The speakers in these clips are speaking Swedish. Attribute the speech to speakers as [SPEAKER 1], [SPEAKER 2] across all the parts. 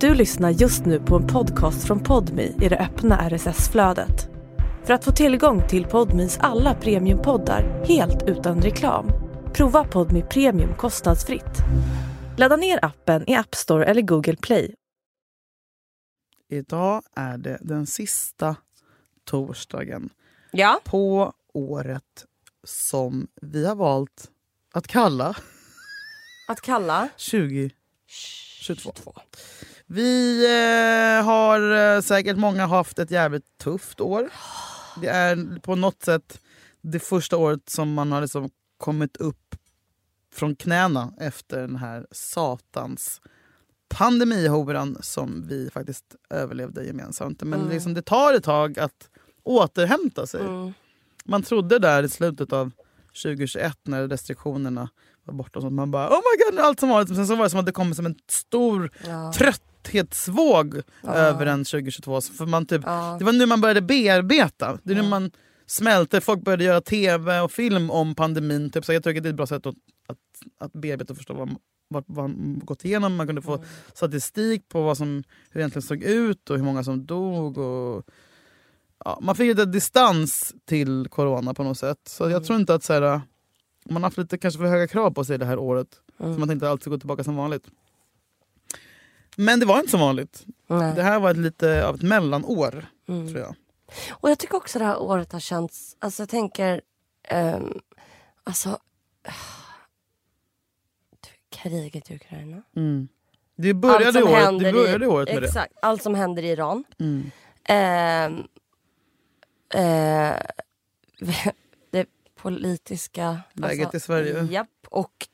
[SPEAKER 1] Du lyssnar just nu på en podcast från Podmi i det öppna RSS-flödet. För att få tillgång till Podmis alla premiumpoddar helt utan reklam, prova Podmi Premium kostnadsfritt. Ladda ner appen i App Store eller Google Play.
[SPEAKER 2] Idag är det den sista torsdagen
[SPEAKER 3] Ja.
[SPEAKER 2] på året som vi har valt att kalla
[SPEAKER 3] Att kalla.
[SPEAKER 2] 2022. Vi eh, har eh, säkert många haft ett jävligt tufft år. Det är på något sätt det första året som man har liksom kommit upp från knäna efter den här satans pandemihoran som vi faktiskt överlevde gemensamt. Men
[SPEAKER 3] Mm.
[SPEAKER 2] liksom, det tar ett tag att återhämta sig.
[SPEAKER 3] Mm.
[SPEAKER 2] Man trodde där i slutet av 2021 när restriktionerna var borta och sånt, man bara oh my god, nu är allt som vanligt. Men sen så var det som att det kom som en stor
[SPEAKER 3] Ja.
[SPEAKER 2] trötthetsvåg
[SPEAKER 3] Ja.
[SPEAKER 2] över en 2022. Så För man typ,
[SPEAKER 3] Ja.
[SPEAKER 2] det var nu man började bearbeta. Det är nu
[SPEAKER 3] Ja.
[SPEAKER 2] man smälte. Folk började göra tv och film om pandemin. Typ. Så jag tycker det är ett bra sätt att, att, att bearbeta och förstå vad, vad, vad man gått igenom. Man kunde få
[SPEAKER 3] Mm.
[SPEAKER 2] statistik på vad som, hur det egentligen såg ut och hur många som dog. Och, ja, man fick lite distans till corona på något sätt. Så
[SPEAKER 3] Mm.
[SPEAKER 2] jag tror inte att så här, man har haft lite kanske för höga krav på sig det här året.
[SPEAKER 3] Mm.
[SPEAKER 2] Så man tänkte att allt skulle gå tillbaka som vanligt. Men det var inte som vanligt.
[SPEAKER 3] Nej.
[SPEAKER 2] Det här var ett lite av ett mellanår,
[SPEAKER 3] Mm.
[SPEAKER 2] tror jag.
[SPEAKER 3] Och jag tycker också det här året har känts, alltså jag tänker, um, alltså kriget i Ukraina.
[SPEAKER 2] Mm. Det började, i året, det började i året med det.
[SPEAKER 3] exakt, Allt som händer i Iran.
[SPEAKER 2] Mm.
[SPEAKER 3] Ehm, eh, det politiska... alltså,
[SPEAKER 2] Läget i Sverige. Mm.
[SPEAKER 3] Japp, och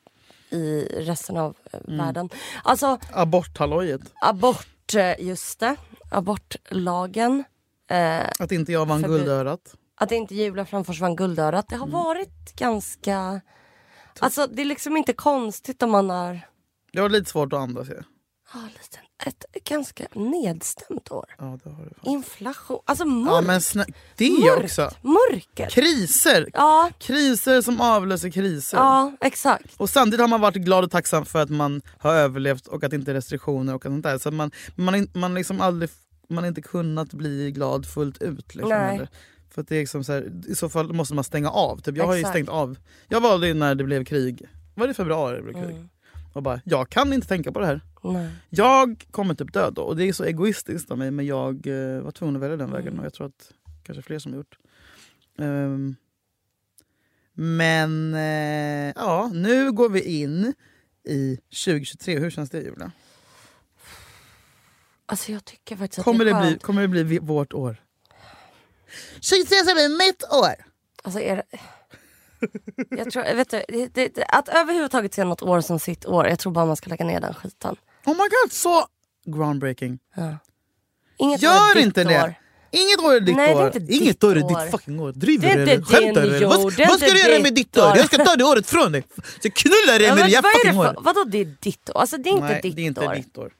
[SPEAKER 3] i resten av eh, världen. Alltså
[SPEAKER 2] Aborthallojet.
[SPEAKER 3] abort, eh, just det. Abortlagen. Eh,
[SPEAKER 2] Att inte jag vann
[SPEAKER 3] Förbud.
[SPEAKER 2] guldörat.
[SPEAKER 3] Att inte Julia Framfors vann Guldörat. Det har
[SPEAKER 2] Mm.
[SPEAKER 3] varit ganska... Alltså det är liksom inte konstigt om man har
[SPEAKER 2] Det var lite svårt att andas. Ja,
[SPEAKER 3] ah, lite, ett ganska nedstämt år.
[SPEAKER 2] ja det har du. fan.
[SPEAKER 3] Inflation, alltså
[SPEAKER 2] Ja,
[SPEAKER 3] mörk,
[SPEAKER 2] men snä- det
[SPEAKER 3] Mörkt.
[SPEAKER 2] också.
[SPEAKER 3] mörker.
[SPEAKER 2] Kriser!
[SPEAKER 3] Ja,
[SPEAKER 2] Kriser som avlöser kriser.
[SPEAKER 3] ja, exakt.
[SPEAKER 2] Och samtidigt har man varit glad och tacksam för att man har överlevt och att det inte är restriktioner och sånt där. Så man, man, har in- man, liksom aldrig, man har inte kunnat bli glad fullt ut. Liksom,
[SPEAKER 3] Nej.
[SPEAKER 2] heller. För att det är liksom så här, I så fall måste man stänga av. Typ, jag har ju
[SPEAKER 3] Exakt.
[SPEAKER 2] stängt av. Jag valde ju när det blev krig. Var det i februari det blev krig?
[SPEAKER 3] Mm.
[SPEAKER 2] Och bara, jag kan inte tänka på det här.
[SPEAKER 3] Nej.
[SPEAKER 2] Jag kommer typ dö då. Och det är så egoistiskt av mig men jag eh, var tvungen att välja den
[SPEAKER 3] Mm.
[SPEAKER 2] vägen och jag tror att kanske fler som gjort. Ehm, men eh, ja, nu går vi in i 2023. Hur känns det Julia?
[SPEAKER 3] Alltså jag tycker faktiskt att
[SPEAKER 2] Kommer
[SPEAKER 3] det
[SPEAKER 2] det,
[SPEAKER 3] är
[SPEAKER 2] bli,
[SPEAKER 3] skönt.
[SPEAKER 2] kommer det bli vi- vårt år? 2023 ska bli mitt år!
[SPEAKER 3] Alltså är det... Jag tror, vet du, det, det, det- att överhuvudtaget se något år som sitt år, jag tror bara man ska lägga ner den skiten.
[SPEAKER 2] Oh my god, så groundbreaking.
[SPEAKER 3] Inget år är
[SPEAKER 2] Gör
[SPEAKER 3] ditt
[SPEAKER 2] inte det!
[SPEAKER 3] år.
[SPEAKER 2] Inget år är ditt
[SPEAKER 3] Nej, det är
[SPEAKER 2] år.
[SPEAKER 3] inte ditt
[SPEAKER 2] Inget år är
[SPEAKER 3] år.
[SPEAKER 2] ditt fucking år. Driver
[SPEAKER 3] Det är
[SPEAKER 2] du
[SPEAKER 3] inte
[SPEAKER 2] eller? Skämtar
[SPEAKER 3] din
[SPEAKER 2] du eller?
[SPEAKER 3] jord,
[SPEAKER 2] Vad,
[SPEAKER 3] det är
[SPEAKER 2] vad ska
[SPEAKER 3] inte
[SPEAKER 2] du göra
[SPEAKER 3] ditt
[SPEAKER 2] med ditt år?
[SPEAKER 3] år.
[SPEAKER 2] Jag ska ta det året från dig. Så knullar dig
[SPEAKER 3] Ja,
[SPEAKER 2] med
[SPEAKER 3] men
[SPEAKER 2] det
[SPEAKER 3] vad är det
[SPEAKER 2] fucking året.
[SPEAKER 3] för, vadå det är ditt år? Alltså det är inte
[SPEAKER 2] Nej,
[SPEAKER 3] ditt
[SPEAKER 2] det är inte
[SPEAKER 3] år.
[SPEAKER 2] ditt år.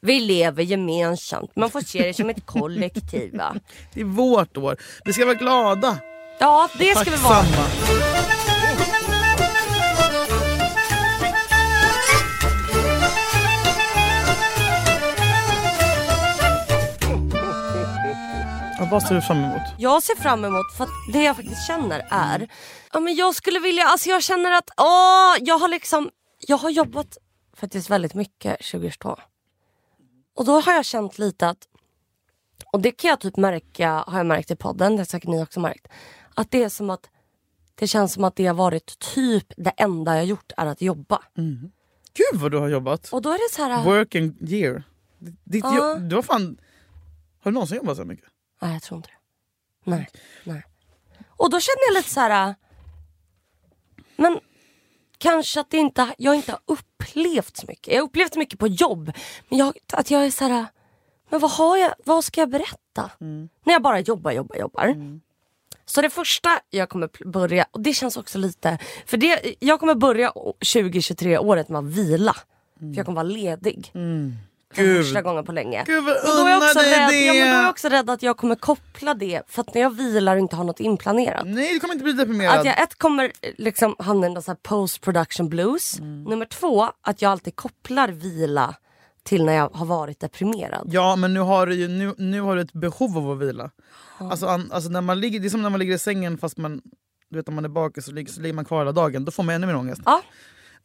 [SPEAKER 3] Vi lever gemensamt. Man får se det som ett kollektiv. Va?
[SPEAKER 2] Det är vårt år. Vi ska vara glada.
[SPEAKER 3] Ja, det ska vi vara.
[SPEAKER 2] Tacksamma. Ja, vad ser du fram emot?
[SPEAKER 3] Jag ser fram emot, för att det jag faktiskt känner är... Ja, men jag skulle vilja... Alltså jag känner att... Åh, jag har liksom... Jag har jobbat faktiskt väldigt mycket 2022. Och då har jag känt lite att... Och det kan jag typ märka, har jag märkt i podden, det har säkert ni också märkt. Att det är som att... Det känns som att det har varit typ det enda jag gjort är att jobba.
[SPEAKER 2] Gud vad du har jobbat.
[SPEAKER 3] Och då är det så här...
[SPEAKER 2] Working year. Ditt
[SPEAKER 3] Ja.
[SPEAKER 2] jobb, du har fan... Har du någonsin jobbat så här mycket?
[SPEAKER 3] Nej, jag tror inte det. Nej, nej. Och då känner jag lite så här... äh, Men kanske att det inte, jag inte har upplevt så mycket. Jag har upplevt så mycket på jobb. Men jag, att jag är så här... äh, Men vad, har jag, vad ska jag berätta? När jag bara jobbar, jobbar, jobbar. Så det första jag kommer pl- börja, och det känns också lite... För det, jag kommer börja å- 2023 året med att vila. För jag kommer vara ledig. För
[SPEAKER 2] Gud.
[SPEAKER 3] första gången på länge.
[SPEAKER 2] Gud vad
[SPEAKER 3] Och då är jag
[SPEAKER 2] unna
[SPEAKER 3] också
[SPEAKER 2] dig
[SPEAKER 3] rädd,
[SPEAKER 2] det!
[SPEAKER 3] ja, men då är jag också rädd att jag kommer koppla det för att när jag vilar och inte har något inplanerat.
[SPEAKER 2] Nej, du kommer inte bli
[SPEAKER 3] Att
[SPEAKER 2] deprimerad.
[SPEAKER 3] jag ett kommer eh, liksom
[SPEAKER 2] Mm.
[SPEAKER 3] hamna i någon så här post production blues. Nummer två, att jag alltid kopplar vila till när jag har varit deprimerad.
[SPEAKER 2] Ja men nu har du, ju, nu, nu har du ett behov av att vila.
[SPEAKER 3] Ah.
[SPEAKER 2] Alltså, an, alltså när man ligger, det är som när man ligger i sängen fast man, du vet, om man är bakis så ligger, så ligger man kvar hela dagen. Då får man ännu mer ångest.
[SPEAKER 3] Ja.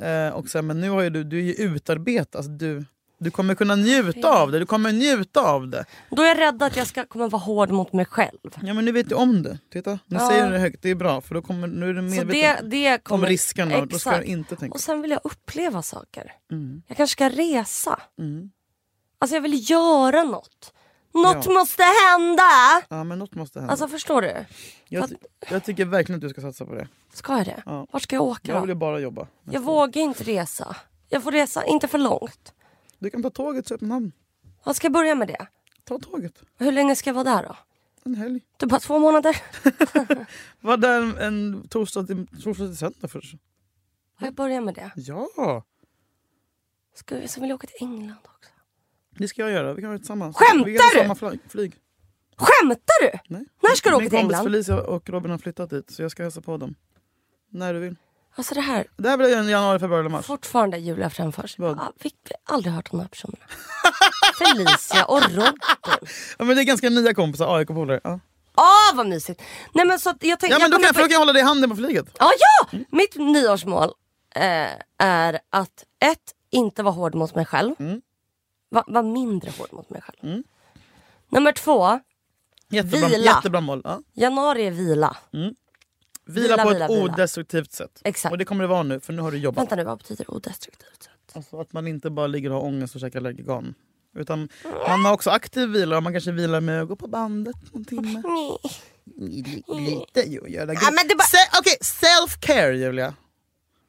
[SPEAKER 2] Eh, och sen, men nu har ju du, du är ju utarbetad. Alltså, du, du kommer kunna njuta av det. Du kommer njuta av det.
[SPEAKER 3] Då är jag rädd att jag ska kommer vara hård mot mig själv.
[SPEAKER 2] Ja men nu vet du om det. Titta, nu
[SPEAKER 3] Ja.
[SPEAKER 2] säger du det högt. Det är bra för då kommer, nu är du
[SPEAKER 3] Så
[SPEAKER 2] medveten
[SPEAKER 3] det, det
[SPEAKER 2] om
[SPEAKER 3] kommer...
[SPEAKER 2] riskerna. och Då ska du
[SPEAKER 3] Mm. Exakt.
[SPEAKER 2] inte tänka.
[SPEAKER 3] Och sen vill jag uppleva saker.
[SPEAKER 2] Mm,
[SPEAKER 3] Jag kanske ska resa.
[SPEAKER 2] mm.
[SPEAKER 3] Alltså jag vill göra något. Något
[SPEAKER 2] Ja.
[SPEAKER 3] måste hända!
[SPEAKER 2] Ja men något måste hända.
[SPEAKER 3] Alltså förstår du?
[SPEAKER 2] jag, ty- jag tycker verkligen att du ska satsa på det.
[SPEAKER 3] Ska jag det?
[SPEAKER 2] Ja.
[SPEAKER 3] Vart ska jag åka
[SPEAKER 2] Jag
[SPEAKER 3] då?
[SPEAKER 2] vill ju bara jobba.
[SPEAKER 3] Jag vågar inte resa. Jag får resa, inte för långt.
[SPEAKER 2] Du kan ta tåget till Köpenhamn.
[SPEAKER 3] Jag ska jag börja med det.
[SPEAKER 2] Ta tåget.
[SPEAKER 3] Hur länge ska jag vara där då?
[SPEAKER 2] En helg.
[SPEAKER 3] Du bara två månader?
[SPEAKER 2] Var där en, en torsdag, till, torsdag till söndag först.
[SPEAKER 3] Har jag börjat med det?
[SPEAKER 2] Ja!
[SPEAKER 3] Ska jag, så vill jag åka till England också.
[SPEAKER 2] Det ska jag göra. Vi kan göra det tillsammans.
[SPEAKER 3] Skämtar
[SPEAKER 2] vi kan ha
[SPEAKER 3] du?
[SPEAKER 2] samma flyg. flyg.
[SPEAKER 3] Skämtar du?
[SPEAKER 2] Nej.
[SPEAKER 3] När ska du åka
[SPEAKER 2] Min
[SPEAKER 3] till
[SPEAKER 2] kompis
[SPEAKER 3] England?
[SPEAKER 2] Felicia och Robin har flyttat dit så jag ska hälsa på dem. När du vill.
[SPEAKER 3] Alltså det här,
[SPEAKER 2] Det här blir ju en januari, februari eller mars.
[SPEAKER 3] fortfarande Julia framförs.
[SPEAKER 2] Alltså. Vad?
[SPEAKER 3] Ja, vi vi har aldrig hört om de här personerna. Felicia och Robin.
[SPEAKER 2] Ja, men det är ganska nya kompisar, AIK-polare. Ja.
[SPEAKER 3] Åh vad mysigt! Nej men så att jag
[SPEAKER 2] Ja,
[SPEAKER 3] tänkte...
[SPEAKER 2] men då kan
[SPEAKER 3] jag
[SPEAKER 2] jag,
[SPEAKER 3] kom
[SPEAKER 2] då kan
[SPEAKER 3] på-
[SPEAKER 2] jag hålla dig i handen på flyget.
[SPEAKER 3] Ja, ja! Mitt nyårsmål eh, är att ett, inte vara hård mot mig själv.
[SPEAKER 2] Mm.
[SPEAKER 3] Va- Vara mindre hård mot mig själv.
[SPEAKER 2] Mm.
[SPEAKER 3] Nummer två,
[SPEAKER 2] Jättebra,
[SPEAKER 3] Vila.
[SPEAKER 2] jättebra mål. Ja.
[SPEAKER 3] januari är vila.
[SPEAKER 2] Mm. Vila,
[SPEAKER 3] Vila,
[SPEAKER 2] på ett
[SPEAKER 3] vila, vila.
[SPEAKER 2] odestruktivt sätt.
[SPEAKER 3] Exakt.
[SPEAKER 2] Och det kommer det vara nu, för nu har du jobbat.
[SPEAKER 3] Vänta nu, vad betyder odestruktivt?
[SPEAKER 2] Alltså att man inte bara ligger och har ångest och käkar Allergan. Utan man har också aktiv vila, och man kanske vilar med att gå på bandet någon timme.
[SPEAKER 3] Nej.
[SPEAKER 2] Li- Lite ju, göra ja,
[SPEAKER 3] men det bara-
[SPEAKER 2] Se- Okej, self-care Julia.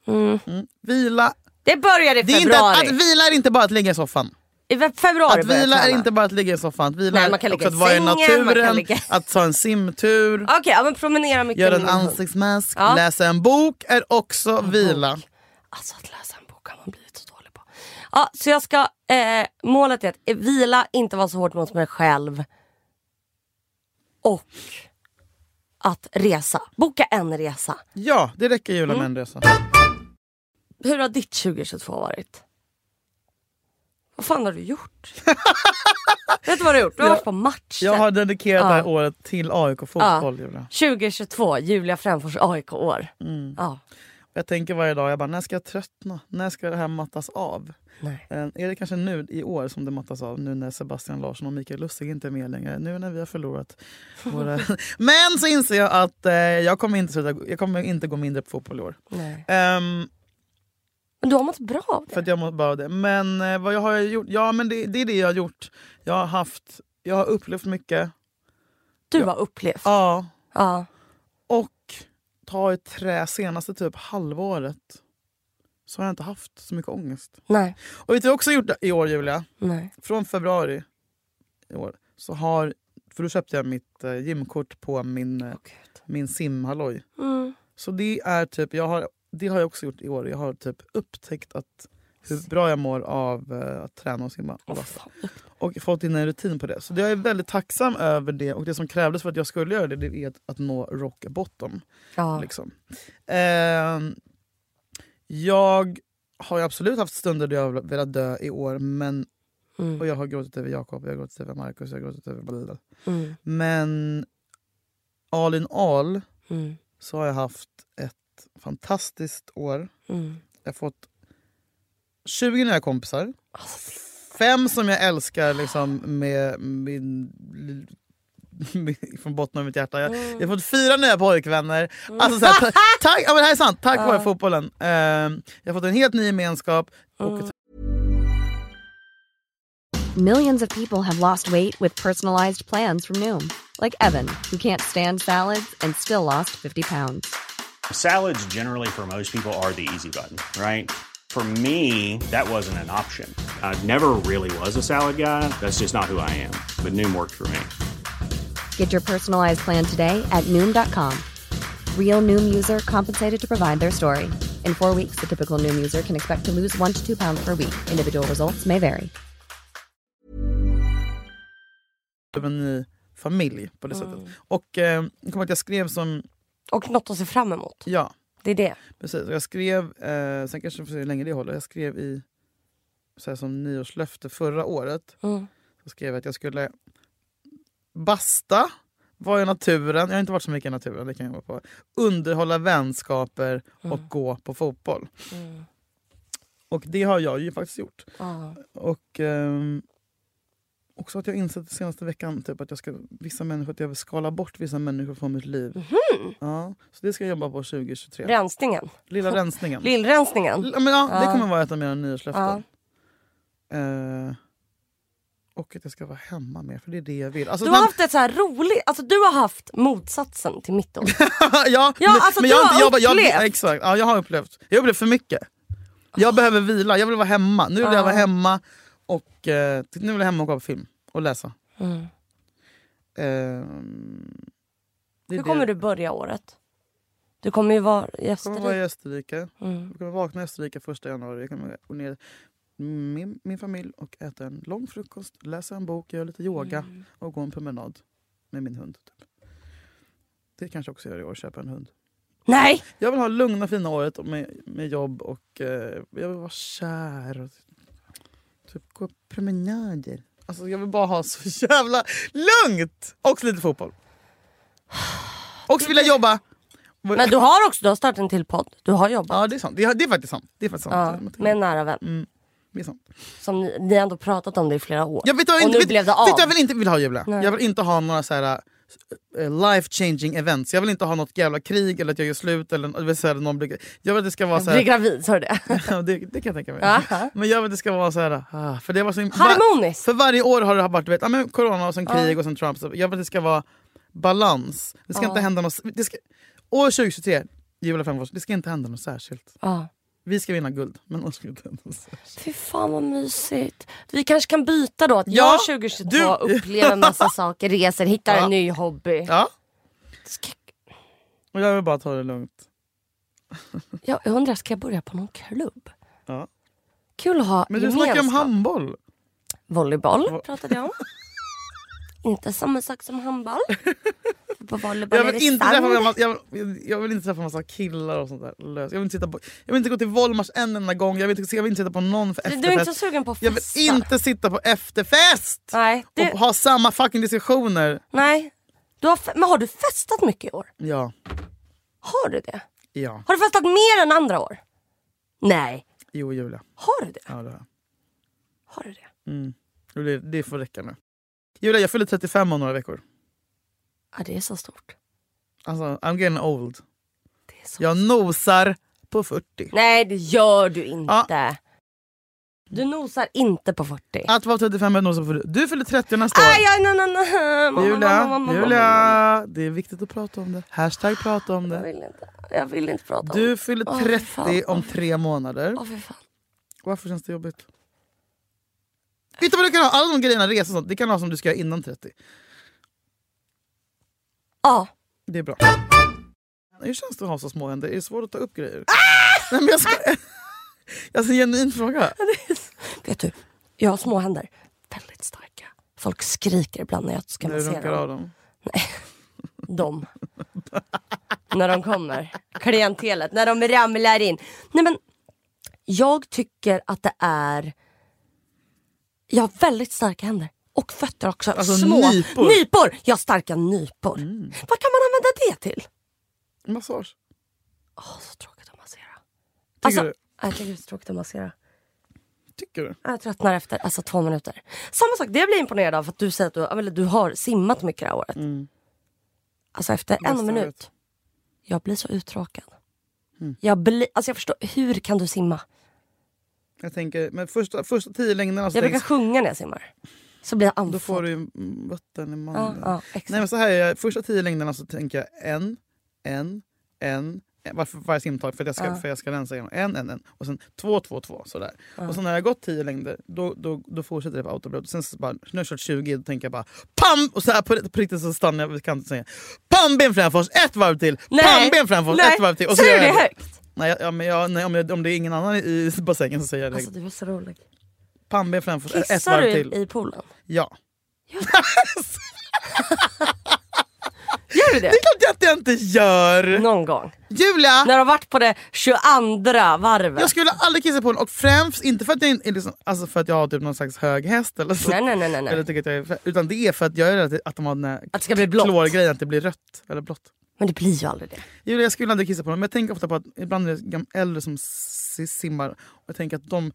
[SPEAKER 3] Mm.
[SPEAKER 2] Mm. Vila.
[SPEAKER 3] Det börjar i
[SPEAKER 2] Det är inte att,
[SPEAKER 3] februari.
[SPEAKER 2] att vila är inte bara att ligga i soffan.
[SPEAKER 3] I ve- februari
[SPEAKER 2] Att
[SPEAKER 3] börjar jag
[SPEAKER 2] vila är
[SPEAKER 3] träna.
[SPEAKER 2] inte bara att ligga i soffan. Att vila
[SPEAKER 3] Nej, man kan
[SPEAKER 2] är
[SPEAKER 3] ligga
[SPEAKER 2] också att
[SPEAKER 3] i
[SPEAKER 2] vara i
[SPEAKER 3] sängen, man kan
[SPEAKER 2] naturen,
[SPEAKER 3] ligga-
[SPEAKER 2] att ta en simtur,
[SPEAKER 3] Okej, ja, men promenera mycket.
[SPEAKER 2] göra
[SPEAKER 3] med
[SPEAKER 2] en
[SPEAKER 3] min hund.
[SPEAKER 2] ansiktsmask,
[SPEAKER 3] Ja.
[SPEAKER 2] läsa en bok är också vila.
[SPEAKER 3] Alltså att läsa en bok har man blivit så dålig på. Ja, så jag ska, eh, målet är att eh, vila, inte vara så hårt mot mig själv. Och att resa. Boka en resa.
[SPEAKER 2] Ja, det räcker Julia med en resa.
[SPEAKER 3] Hur har ditt 2022 varit? Vad fan har du gjort? Vet du vad du har gjort? Du har
[SPEAKER 2] Jag-
[SPEAKER 3] varit på matcher.
[SPEAKER 2] Jag har dedikerat det här
[SPEAKER 3] Ja.
[SPEAKER 2] året till AIK-fotboll Julia.
[SPEAKER 3] 2022, Julia Fränfors AIK-år.
[SPEAKER 2] Mm.
[SPEAKER 3] Ja,
[SPEAKER 2] Jag tänker varje dag, jag bara, när ska jag tröttna? När ska det här mattas av?
[SPEAKER 3] nej.
[SPEAKER 2] Eh, Är det kanske nu i år som det mattas av? Nu när Sebastian Larsson och Mikael Lustig inte är med längre. Nu när vi har förlorat våra... Men så inser jag att eh, jag, kommer inte sluta, jag kommer inte gå mindre på fotboll i år.
[SPEAKER 3] nej.
[SPEAKER 2] Ehm,
[SPEAKER 3] Men du har mått bra av det.
[SPEAKER 2] för att jag mår bara av det. Men eh, vad jag har gjort? Ja men det, det är det jag har gjort. Jag har haft... Jag har upplevt mycket.
[SPEAKER 3] Du
[SPEAKER 2] Ja.
[SPEAKER 3] har upplevt.
[SPEAKER 2] Ja.
[SPEAKER 3] Ja.
[SPEAKER 2] Och ta i trä senaste typ halvåret så har jag inte haft så mycket ångest.
[SPEAKER 3] Nej,
[SPEAKER 2] Och vet du vad jag också har gjort i år Julia?
[SPEAKER 3] nej.
[SPEAKER 2] från februari i år så har, för då köpte jag mitt eh, gymkort på min, eh,
[SPEAKER 3] Åh, gud.
[SPEAKER 2] min simhalloj.
[SPEAKER 3] Mm.
[SPEAKER 2] Så det är typ, jag har, det har jag också gjort i år. Jag har typ upptäckt att hur bra jag mår av eh, att träna och simma.
[SPEAKER 3] Åh,
[SPEAKER 2] Och,
[SPEAKER 3] fan.
[SPEAKER 2] och fått in en rutin på det. Så jag är väldigt tacksam över det. Och det som krävdes för att jag skulle göra det, det är att, att nå rock bottom.
[SPEAKER 3] Ja.
[SPEAKER 2] Liksom. Ehm, jag har ju absolut haft stunder där jag har velat dö i år, men
[SPEAKER 3] Mm.
[SPEAKER 2] Och jag har gråtit över Jakob, jag har gråtit över Markus, jag har gråtit över Balila.
[SPEAKER 3] Mm.
[SPEAKER 2] Men all in all
[SPEAKER 3] Mm.
[SPEAKER 2] så har jag haft ett fantastiskt år.
[SPEAKER 3] Mm.
[SPEAKER 2] Jag har fått 20 nya kompisar.
[SPEAKER 3] Alltså, det-
[SPEAKER 2] Fem som jag älskar liksom med min... min- Från botten av mitt hjärta. Jag, jag har fått fyra nya pojkvänner. Alltså så här, ta, tack, ja, men det här är sant, tack vare fotbollen. Ehm, jag har fått en helt ny gemenskap och ett
[SPEAKER 4] Millions of people have lost weight with personalized plans from Noom, like Evan, who can't stand salads and still lost 50 pounds.
[SPEAKER 5] Salads, generally, for most people, are the easy button, right? For me, that wasn't an option. I never really was a salad guy. That's just not who I am. But Noom worked for me.
[SPEAKER 4] Get your personalized plan today at Noom.com. Real Noom user compensated to provide their story. In four weeks, the typical Noom user can expect to lose one to two pounds per week. Individual results may vary.
[SPEAKER 2] av typ en ny familj på det sättet. Och eh, jag kommer att jag skrev som...
[SPEAKER 3] Och något att se fram emot.
[SPEAKER 2] Ja,
[SPEAKER 3] Det är det.
[SPEAKER 2] Precis, och jag skrev, eh, sen kanske vi får se hur länge det håller, jag skrev i så här, som nyårslöfte förra året.
[SPEAKER 3] Mm.
[SPEAKER 2] Så skrev jag att jag skulle basta, vara i naturen, jag har inte varit så mycket i naturen, det kan jag vara på. underhålla vänskaper och gå på fotboll.
[SPEAKER 3] Mm.
[SPEAKER 2] Och det har jag ju faktiskt gjort.
[SPEAKER 3] Ja.
[SPEAKER 2] Och ehm, också att jag insett den senaste veckan typ, att jag ska vissa människor att jag vill skala bort vissa människor från mitt liv.
[SPEAKER 3] Mhm.
[SPEAKER 2] Ja, så det ska jag jobba på 2023.
[SPEAKER 3] Rensningen.
[SPEAKER 2] Lilla rensningen.
[SPEAKER 3] Lillrensningen.
[SPEAKER 2] Ja, men ja, Det
[SPEAKER 3] Ja.
[SPEAKER 2] kommer vara ett av mina nyårslöften. Eh, och att jag ska vara hemma mer, för det är det jag vill. Alltså,
[SPEAKER 3] Du har haft ett så här roligt, alltså du har haft motsatsen till mitt år.
[SPEAKER 2] ja,
[SPEAKER 3] Ja,
[SPEAKER 2] men,
[SPEAKER 3] alltså,
[SPEAKER 2] men
[SPEAKER 3] du
[SPEAKER 2] jag
[SPEAKER 3] har
[SPEAKER 2] jobbat-
[SPEAKER 3] upplevt.
[SPEAKER 2] Jag, exakt, ja, jag har upplevt. Jag har upplevt för mycket. Jag behöver vila, jag vill vara hemma. Nu vill jag
[SPEAKER 3] Ja.
[SPEAKER 2] vara hemma och eh, nu vill jag hemma och kolla på film och läsa.
[SPEAKER 3] Mm.
[SPEAKER 2] Eh, det är
[SPEAKER 3] Hur kommer
[SPEAKER 2] det.
[SPEAKER 3] du börja året? Du kommer ju vara i
[SPEAKER 2] Jag kommer vara i
[SPEAKER 3] Österrike.
[SPEAKER 2] Österrike.
[SPEAKER 3] Mm.
[SPEAKER 2] Jag kommer vakna i Österrike första januari. Jag kommer gå ner med min familj och äta en lång frukost, läsa en bok, göra lite yoga
[SPEAKER 3] Mm.
[SPEAKER 2] och gå en promenad med min hund. Typ. Det kanske jag också gör i år, köpa en hund.
[SPEAKER 3] Nej!
[SPEAKER 2] Jag vill ha lugna fina året och med, med jobb och eh, jag vill vara kär. Och, typ gå promenader. Alltså, jag vill bara ha så jävla lugnt! Och lite fotboll. Och så vill jag jobba.
[SPEAKER 3] Men du har också du har startat en till podd. Du har jobbat.
[SPEAKER 2] Ja det är sant. Det är, det är faktiskt sant. Det Mm. är faktiskt
[SPEAKER 3] Ja,
[SPEAKER 2] sant.
[SPEAKER 3] med en nära vän.
[SPEAKER 2] Det är sant.
[SPEAKER 3] Som ni, ni har ändå pratat om det i flera år.
[SPEAKER 2] Jag vet vad jag
[SPEAKER 3] och
[SPEAKER 2] inte,
[SPEAKER 3] nu
[SPEAKER 2] vet,
[SPEAKER 3] blev det
[SPEAKER 2] vet
[SPEAKER 3] av.
[SPEAKER 2] vad jag vill inte vill ha i jul.
[SPEAKER 3] Nej.
[SPEAKER 2] Jag vill inte ha några så här life changing events. Jag vill inte ha något jävla krig eller att jag gör slut eller jag vill, så här, någon blir, jag vill att det ska vara
[SPEAKER 3] Jag
[SPEAKER 2] så
[SPEAKER 3] blir
[SPEAKER 2] här,
[SPEAKER 3] gravid, sa du det?
[SPEAKER 2] det, det kan jag tänka mig.
[SPEAKER 3] Aha.
[SPEAKER 2] Men jag vill att det ska vara så här ah, för det var så him-
[SPEAKER 3] Harmoniskt.
[SPEAKER 2] För varje år har det varit du vet, ja, men corona och sen krig och sen Trump. Så jag vill att det ska vara balans. Det ska inte hända något det ska, År 2023, jul och femfors, det ska inte hända något särskilt.
[SPEAKER 3] Ja.
[SPEAKER 2] Vi ska vinna guld, men oss ska inte hända något särskilt.
[SPEAKER 3] Fy fan vad mysigt. Vi kanske kan byta då. Att
[SPEAKER 2] Ja,
[SPEAKER 3] jag 2022
[SPEAKER 2] du-
[SPEAKER 3] upplever en massa saker, reser, hittar
[SPEAKER 2] Ja.
[SPEAKER 3] en ny hobby.
[SPEAKER 2] Ja,
[SPEAKER 3] Ska,
[SPEAKER 2] och jag vill bara ta det lugnt.
[SPEAKER 3] jag undrar, ska jag börja på någon klubb?
[SPEAKER 2] Ja.
[SPEAKER 3] Kul att ha
[SPEAKER 2] Men du
[SPEAKER 3] gemenskap.
[SPEAKER 2] snackar om handboll.
[SPEAKER 3] Volleyboll
[SPEAKER 2] Va-
[SPEAKER 3] pratade jag om. inte samma sak som handboll. För på volleyboll
[SPEAKER 2] Jag
[SPEAKER 3] är
[SPEAKER 2] vill,
[SPEAKER 3] det
[SPEAKER 2] inte
[SPEAKER 3] sand.
[SPEAKER 2] träffa, jag, vill, jag vill inte träffa massa killar och sånt där löst. Jag vill inte, sitta på, jag vill inte gå till Volmars en enda gång, jag vill inte, jag vill inte sitta på någon för
[SPEAKER 3] Du är inte
[SPEAKER 2] efterfest.
[SPEAKER 3] så sugen på
[SPEAKER 2] Jag
[SPEAKER 3] fester?
[SPEAKER 2] vill inte sitta på efterfest!
[SPEAKER 3] Nej, det,
[SPEAKER 2] Och ha samma fucking diskussioner.
[SPEAKER 3] nej. Du har, fe- men har du festat mycket i år?
[SPEAKER 2] Ja,
[SPEAKER 3] Har du det?
[SPEAKER 2] ja.
[SPEAKER 3] Har du festat mer än andra år? Nej.
[SPEAKER 2] Jo Julia.
[SPEAKER 3] Har du det?
[SPEAKER 2] Ja, det, här.
[SPEAKER 3] Har du det?
[SPEAKER 2] Mm. Julia, det får räcka nu. Julia, jag fyller 35 om några veckor.
[SPEAKER 3] Ja, det är så stort.
[SPEAKER 2] Alltså, I'm getting old.
[SPEAKER 3] Det är så...
[SPEAKER 2] Jag nosar på 40.
[SPEAKER 3] Nej, det gör du inte.
[SPEAKER 2] Ja.
[SPEAKER 3] Du nosar inte på 40.
[SPEAKER 2] Att vara 35 är att nosa på 40. Du fyller 30 nästa år.
[SPEAKER 3] Aj, aj, nej, nej, nej. Mamma, mamma,
[SPEAKER 2] Julia,
[SPEAKER 3] mamma, mamma.
[SPEAKER 2] Julia, det är viktigt att prata om det. Hashtag prata om
[SPEAKER 3] Jag
[SPEAKER 2] det.
[SPEAKER 3] vill inte, jag vill inte prata om
[SPEAKER 2] Du fyller
[SPEAKER 3] Åh, fy
[SPEAKER 2] 30
[SPEAKER 3] fan.
[SPEAKER 2] om tre månader.
[SPEAKER 3] Åh, fy fan.
[SPEAKER 2] Varför känns det jobbigt? Vet du vad du kan ha? Alla de grejerna, resor och sånt, det kan du ha som du ska göra innan 30.
[SPEAKER 3] Ja.
[SPEAKER 2] Det är bra. Hur känns det att ha så små händer? Är det svårt att ta upp grejer?
[SPEAKER 3] Ah!
[SPEAKER 2] Nej, men jag ska... Alltså en genuin fråga.
[SPEAKER 3] Vet du, jag har små händer. Väldigt starka. Folk skriker ibland när jag ska
[SPEAKER 2] När du runkar
[SPEAKER 3] massera
[SPEAKER 2] av
[SPEAKER 3] dem.
[SPEAKER 2] dem.
[SPEAKER 3] dem. när de kommer. Klientelet, när de ramlar in. Nej men, jag tycker att det är... Jag har väldigt starka händer. Och fötter också.
[SPEAKER 2] Alltså,
[SPEAKER 3] Små
[SPEAKER 2] nypor. Mm.
[SPEAKER 3] nypor. Jag har starka nypor. Vad kan man använda det till?
[SPEAKER 2] Massage.
[SPEAKER 3] Åh, så tråkigt att massera.
[SPEAKER 2] Tycker
[SPEAKER 3] Alltså,
[SPEAKER 2] du?
[SPEAKER 3] Jag tycker det är så tråkigt att massera.
[SPEAKER 2] Tycker du?
[SPEAKER 3] Jag tröttnar efter alltså, två minuter. Samma sak, det jag blir imponerad av för att du säger att du, eller, du har simmat mycket det här året.
[SPEAKER 2] Mm.
[SPEAKER 3] Alltså efter
[SPEAKER 2] Bästa
[SPEAKER 3] en
[SPEAKER 2] jag
[SPEAKER 3] minut.
[SPEAKER 2] vet.
[SPEAKER 3] Jag blir så uttråkad.
[SPEAKER 2] Mm.
[SPEAKER 3] Jag, blir, alltså, jag förstår, hur kan du simma?
[SPEAKER 2] Jag tänker, men första, första tio längderna så
[SPEAKER 3] Jag brukar
[SPEAKER 2] tänks-
[SPEAKER 3] sjunga när jag simmar. Så blir jag andfådd.
[SPEAKER 2] då får du ju mm, vatten i
[SPEAKER 3] ja,
[SPEAKER 2] mannen.
[SPEAKER 3] ja, exakt.
[SPEAKER 2] Nej men så här är jag, första tio längderna så tänker jag en, en, en, en varför varje simtag för att jag ska, för jag ska rensa igenom. En, en, en. Och sen två, två, två. Sådär. Och sen när jag har gått tio längder då, då, då fortsätter det på autopilot. Sen så bara, när jag har kört 20 då tänker jag bara PAM! Och så här på, på riktigt så stannar jag vid kanten och säger PAM! Ben framför, ett varv till! PAM! Ben framför,
[SPEAKER 3] nej.
[SPEAKER 2] ett varv till! Och så
[SPEAKER 3] Säger
[SPEAKER 2] gör
[SPEAKER 3] du
[SPEAKER 2] jag
[SPEAKER 3] det högt?
[SPEAKER 2] Nej, jag- ja, men jag, nej om, jag, om det är ingen annan i, i bassängen så säger jag det.
[SPEAKER 3] Alltså du är så rolig.
[SPEAKER 2] PAM! Ben framför, ett- ett
[SPEAKER 3] Kissar
[SPEAKER 2] varv
[SPEAKER 3] du
[SPEAKER 2] till.
[SPEAKER 3] i, i poolen?
[SPEAKER 2] Ja.
[SPEAKER 3] Gör du det?
[SPEAKER 2] Det är klart att jag inte gör!
[SPEAKER 3] Någon gång.
[SPEAKER 2] Julia!
[SPEAKER 3] När du har varit på det 22 varvet.
[SPEAKER 2] Jag skulle aldrig kissa på den och främst inte för att jag, är liksom, alltså för att jag har typ någon slags hög häst eller så.
[SPEAKER 3] Nej, nej, nej, nej, nej.
[SPEAKER 2] Eller typ- tycker att jag är, fä- utan det är för att jag är rädd att- att de har den här
[SPEAKER 3] Att det ska bli blått.
[SPEAKER 2] klorgrejen, att det blir rött eller blått.
[SPEAKER 3] Men det blir ju aldrig det.
[SPEAKER 2] Julia, jag skulle aldrig kissa på dem, men jag tänker ofta på att ibland är det gam- äldre som si- simmar och jag tänker att de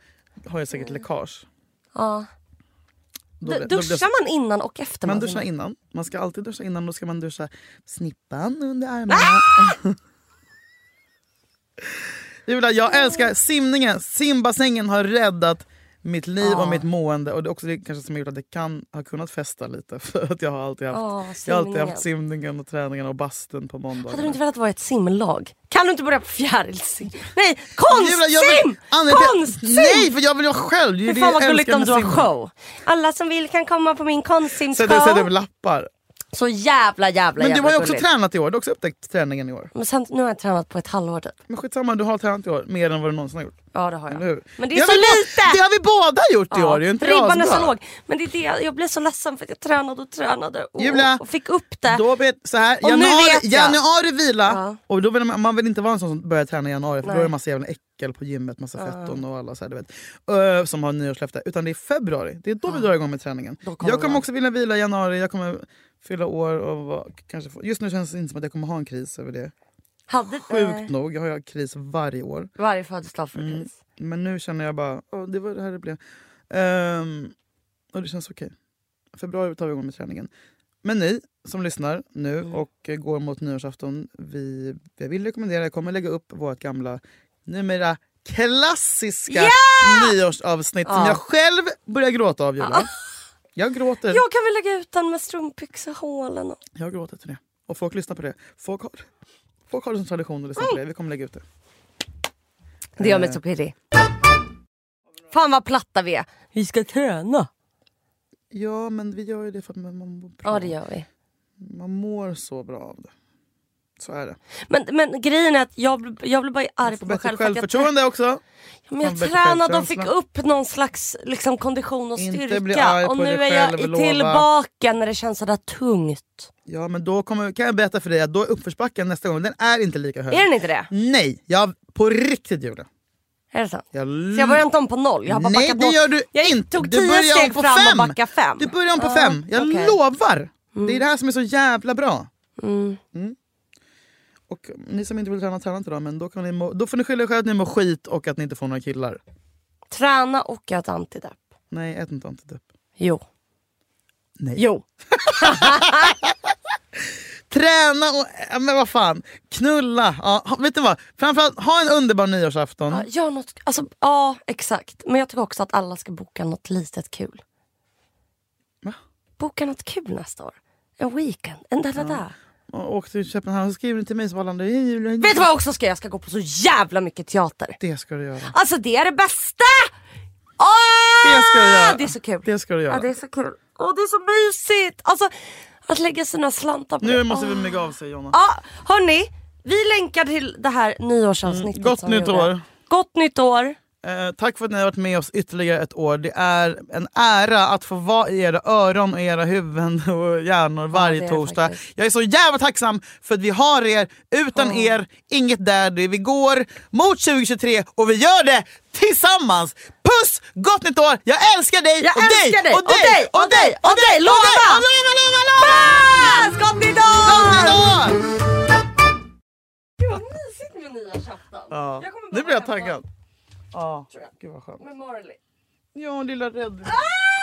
[SPEAKER 2] har ju säkert
[SPEAKER 3] Mm.
[SPEAKER 2] läckage.
[SPEAKER 3] Ja.
[SPEAKER 2] Då
[SPEAKER 3] Du,
[SPEAKER 2] blir- då blir-
[SPEAKER 3] duschar man innan och efter
[SPEAKER 2] man
[SPEAKER 3] man
[SPEAKER 2] duschar
[SPEAKER 3] simmar?
[SPEAKER 2] innan. Man ska alltid duscha innan. Då ska man duscha snippan under armarna.
[SPEAKER 3] Ah!
[SPEAKER 2] Julia, jag älskar simningen. Simbassängen har räddat mitt liv och mitt mående. Och det är också det kanske som har gjort att jag kan, har kunnat festa lite. För att jag har alltid haft,
[SPEAKER 3] Ja,
[SPEAKER 2] jag har alltid
[SPEAKER 3] simningen.
[SPEAKER 2] haft simningen och träningen och bastun på måndagar.
[SPEAKER 3] Hade du inte velat vara ett simlag? Kan du inte börja på fjärilsim? Nej, konstsim!
[SPEAKER 2] Julia, jag vill- Anledningen till-
[SPEAKER 3] konstsim!
[SPEAKER 2] Nej, för jag vill vara själv. Det är
[SPEAKER 3] Fy
[SPEAKER 2] det
[SPEAKER 3] fan
[SPEAKER 2] jag
[SPEAKER 3] vad gulligt
[SPEAKER 2] älskar
[SPEAKER 3] om
[SPEAKER 2] med
[SPEAKER 3] du har
[SPEAKER 2] simning.
[SPEAKER 3] show. Alla som vill kan komma på min
[SPEAKER 2] Sätter sätter upp
[SPEAKER 3] konstsimshow.
[SPEAKER 2] lappar.
[SPEAKER 3] Så jävla jävla
[SPEAKER 2] Men du
[SPEAKER 3] jävla
[SPEAKER 2] har ju också
[SPEAKER 3] gulligt.
[SPEAKER 2] tränat i år. Du har också upptäckt träningen i år.
[SPEAKER 3] Men sen, nu har jag tränat på ett halvår typ.
[SPEAKER 2] Men skitsamma, du har tränat i år mer än vad du någonsin har gjort.
[SPEAKER 3] Ja det har
[SPEAKER 2] Eller hur?
[SPEAKER 3] jag. Men det är så
[SPEAKER 2] har vi bå-
[SPEAKER 3] lite!
[SPEAKER 2] Det har vi båda gjort i
[SPEAKER 3] Ja,
[SPEAKER 2] år. Det är ju inte
[SPEAKER 3] Ribban är så
[SPEAKER 2] asbra.
[SPEAKER 3] låg. Men det är det, jag blev så ledsen för att jag tränade och tränade och,
[SPEAKER 2] Julia,
[SPEAKER 3] och fick upp det.
[SPEAKER 2] Då vet, så här,
[SPEAKER 3] Och nu
[SPEAKER 2] januari,
[SPEAKER 3] vet jag.
[SPEAKER 2] januari vila.
[SPEAKER 3] Ja.
[SPEAKER 2] Och då vill man, man vill inte vara en sån som börjar träna i januari för då
[SPEAKER 3] Nej.
[SPEAKER 2] är det massa jävla äckel på gymmet, massa fetton och alla så här, du vet. Ö, som har nyårslöfte. Utan det är februari, det är då vi drar igång med träningen.
[SPEAKER 3] Då kommer
[SPEAKER 2] jag kommer
[SPEAKER 3] man.
[SPEAKER 2] också vilja vila i januari, jag kommer fylla år och vara- kanske få, Just nu känns det inte som att jag kommer ha en kris över det.
[SPEAKER 3] Hade, eh,
[SPEAKER 2] Sjukt nog, jag har ju kris varje år.
[SPEAKER 3] varje födelsedag för mm.
[SPEAKER 2] Men nu känner jag bara, åh, det var det här det blev. Ehm, och det känns okej. Februari tar vi igång med träningen. Men ni som lyssnar nu
[SPEAKER 3] Mm.
[SPEAKER 2] och eh, går mot nyårsafton, vi, jag vill rekommendera, jag kommer lägga upp vårt gamla, numera klassiska nyårsavsnitt som
[SPEAKER 3] Ja.
[SPEAKER 2] jag själv börjar gråta av Julia. Jag gråter.
[SPEAKER 3] Jag kan väl lägga ut den med strumpbyxehålen. och-
[SPEAKER 2] Jag gråter till det. Och folk lyssnar på det. Folk har, folk har det som tradition att lyssna på det. Vi kommer lägga ut det. Eh,
[SPEAKER 3] Det gör mig så pirrig. Fan vad platta vi är. Vi ska träna.
[SPEAKER 2] Ja, men vi gör ju det för att man, man, mår bra.
[SPEAKER 3] Ja det gör vi.
[SPEAKER 2] man mår så bra av det. Så är det.
[SPEAKER 3] Men, men grejen är att jag, bl- jag blev bara arg
[SPEAKER 2] Få
[SPEAKER 3] på mig
[SPEAKER 2] bättre
[SPEAKER 3] själv. för att jag
[SPEAKER 2] självförtroende också.
[SPEAKER 3] Ja, Men jag
[SPEAKER 2] Fan, bättre
[SPEAKER 3] tränade och fick
[SPEAKER 2] självkänsla.
[SPEAKER 3] upp någon slags liksom, kondition och
[SPEAKER 2] Inte
[SPEAKER 3] styrka.
[SPEAKER 2] bli arg på
[SPEAKER 3] och nu
[SPEAKER 2] dig
[SPEAKER 3] är jag
[SPEAKER 2] själv,
[SPEAKER 3] i-
[SPEAKER 2] lova.
[SPEAKER 3] tillbaka när det känns sådär tungt.
[SPEAKER 2] Ja men då kommer, kan jag berätta för dig att då är uppförsbacken nästa gång, den är inte lika hög.
[SPEAKER 3] Är den inte det?
[SPEAKER 2] Nej, jag på riktigt Julia.
[SPEAKER 3] Är det sant?
[SPEAKER 2] Jag
[SPEAKER 3] Så jag börjar inte om på noll? Jag har bara
[SPEAKER 2] Mm. Nej
[SPEAKER 3] backat
[SPEAKER 2] det
[SPEAKER 3] noll.
[SPEAKER 2] gör du
[SPEAKER 3] jag gick-
[SPEAKER 2] inte.
[SPEAKER 3] tog
[SPEAKER 2] Du
[SPEAKER 3] tio
[SPEAKER 2] börjar om
[SPEAKER 3] steg
[SPEAKER 2] på
[SPEAKER 3] fram
[SPEAKER 2] fem.
[SPEAKER 3] och backade fem.
[SPEAKER 2] Du börjar om på
[SPEAKER 3] Ja,
[SPEAKER 2] fem, jag
[SPEAKER 3] okej. Mm.
[SPEAKER 2] lovar! Det är det här som är så jävla bra. Mm. Och ni som inte vill träna, träna inte då. Men då, kan ni må, då får ni skylla er själva att ni mår skit och att ni inte får några killar.
[SPEAKER 3] Träna och ät antidepp.
[SPEAKER 2] Nej, ät inte antidepp.
[SPEAKER 3] Jo.
[SPEAKER 2] Nej.
[SPEAKER 3] Jo.
[SPEAKER 2] Träna och... ja, Men vad fan. Knulla. Ja, ha- vet ni vad? Framförallt, ha en underbar nyårsafton.
[SPEAKER 3] Ja, gör något, alltså, ja exakt. Men jag tycker också att alla ska boka något litet kul.
[SPEAKER 2] Va?
[SPEAKER 3] Boka något kul nästa år. En weekend. En da, da, da.
[SPEAKER 2] Och åk till Köpenhamn och skriv till mig som Arlanda. Hej Julia.
[SPEAKER 3] Vet du vad jag också ska göra? Jag ska gå på så jävla mycket teater.
[SPEAKER 2] Det ska du göra.
[SPEAKER 3] Alltså det är det bästa! Åh!
[SPEAKER 2] Det ska du göra.
[SPEAKER 3] Det är så kul.
[SPEAKER 2] Det ska du göra.
[SPEAKER 3] Ja, det är så kul. Åh, det är så mysigt! Alltså, att lägga sina slantar på
[SPEAKER 2] Nu
[SPEAKER 3] det.
[SPEAKER 2] måste vi
[SPEAKER 3] Åh.
[SPEAKER 2] mygga av sig Jonna.
[SPEAKER 3] Ja, hörni. Vi länkar till det här nyårsavsnittet.
[SPEAKER 2] Mm, gott
[SPEAKER 3] som vi
[SPEAKER 2] nytt
[SPEAKER 3] gjorde.
[SPEAKER 2] år.
[SPEAKER 3] Gott nytt år.
[SPEAKER 2] Eh, tack för att ni har varit med oss ytterligare ett år. Det är en ära att få vara i era öron och era huvuden och hjärnor varje
[SPEAKER 3] det är det
[SPEAKER 2] torsdag.
[SPEAKER 3] faktiskt.
[SPEAKER 2] Jag är så jävla tacksam för att vi har er. Utan er, inget daddy. Vi går mot 2023 och vi gör det tillsammans. Puss! Gott nytt år! Jag älskar dig!
[SPEAKER 3] Jag
[SPEAKER 2] och
[SPEAKER 3] älskar dig!
[SPEAKER 2] Och dig! Och dig!
[SPEAKER 3] Och dig! Lova!
[SPEAKER 2] Lova, lova, lova!
[SPEAKER 3] Gott nytt
[SPEAKER 2] Gott
[SPEAKER 3] år!
[SPEAKER 2] nytt år!
[SPEAKER 3] Gud vad mysigt med nyårsafton.
[SPEAKER 2] Ja.
[SPEAKER 3] Jag kommer bara
[SPEAKER 2] Nu blir jag
[SPEAKER 3] hem och-
[SPEAKER 2] taggad. Ja, gud vad skönt.
[SPEAKER 3] Med Marley.
[SPEAKER 2] Ja, lilla rädd.
[SPEAKER 3] Ah!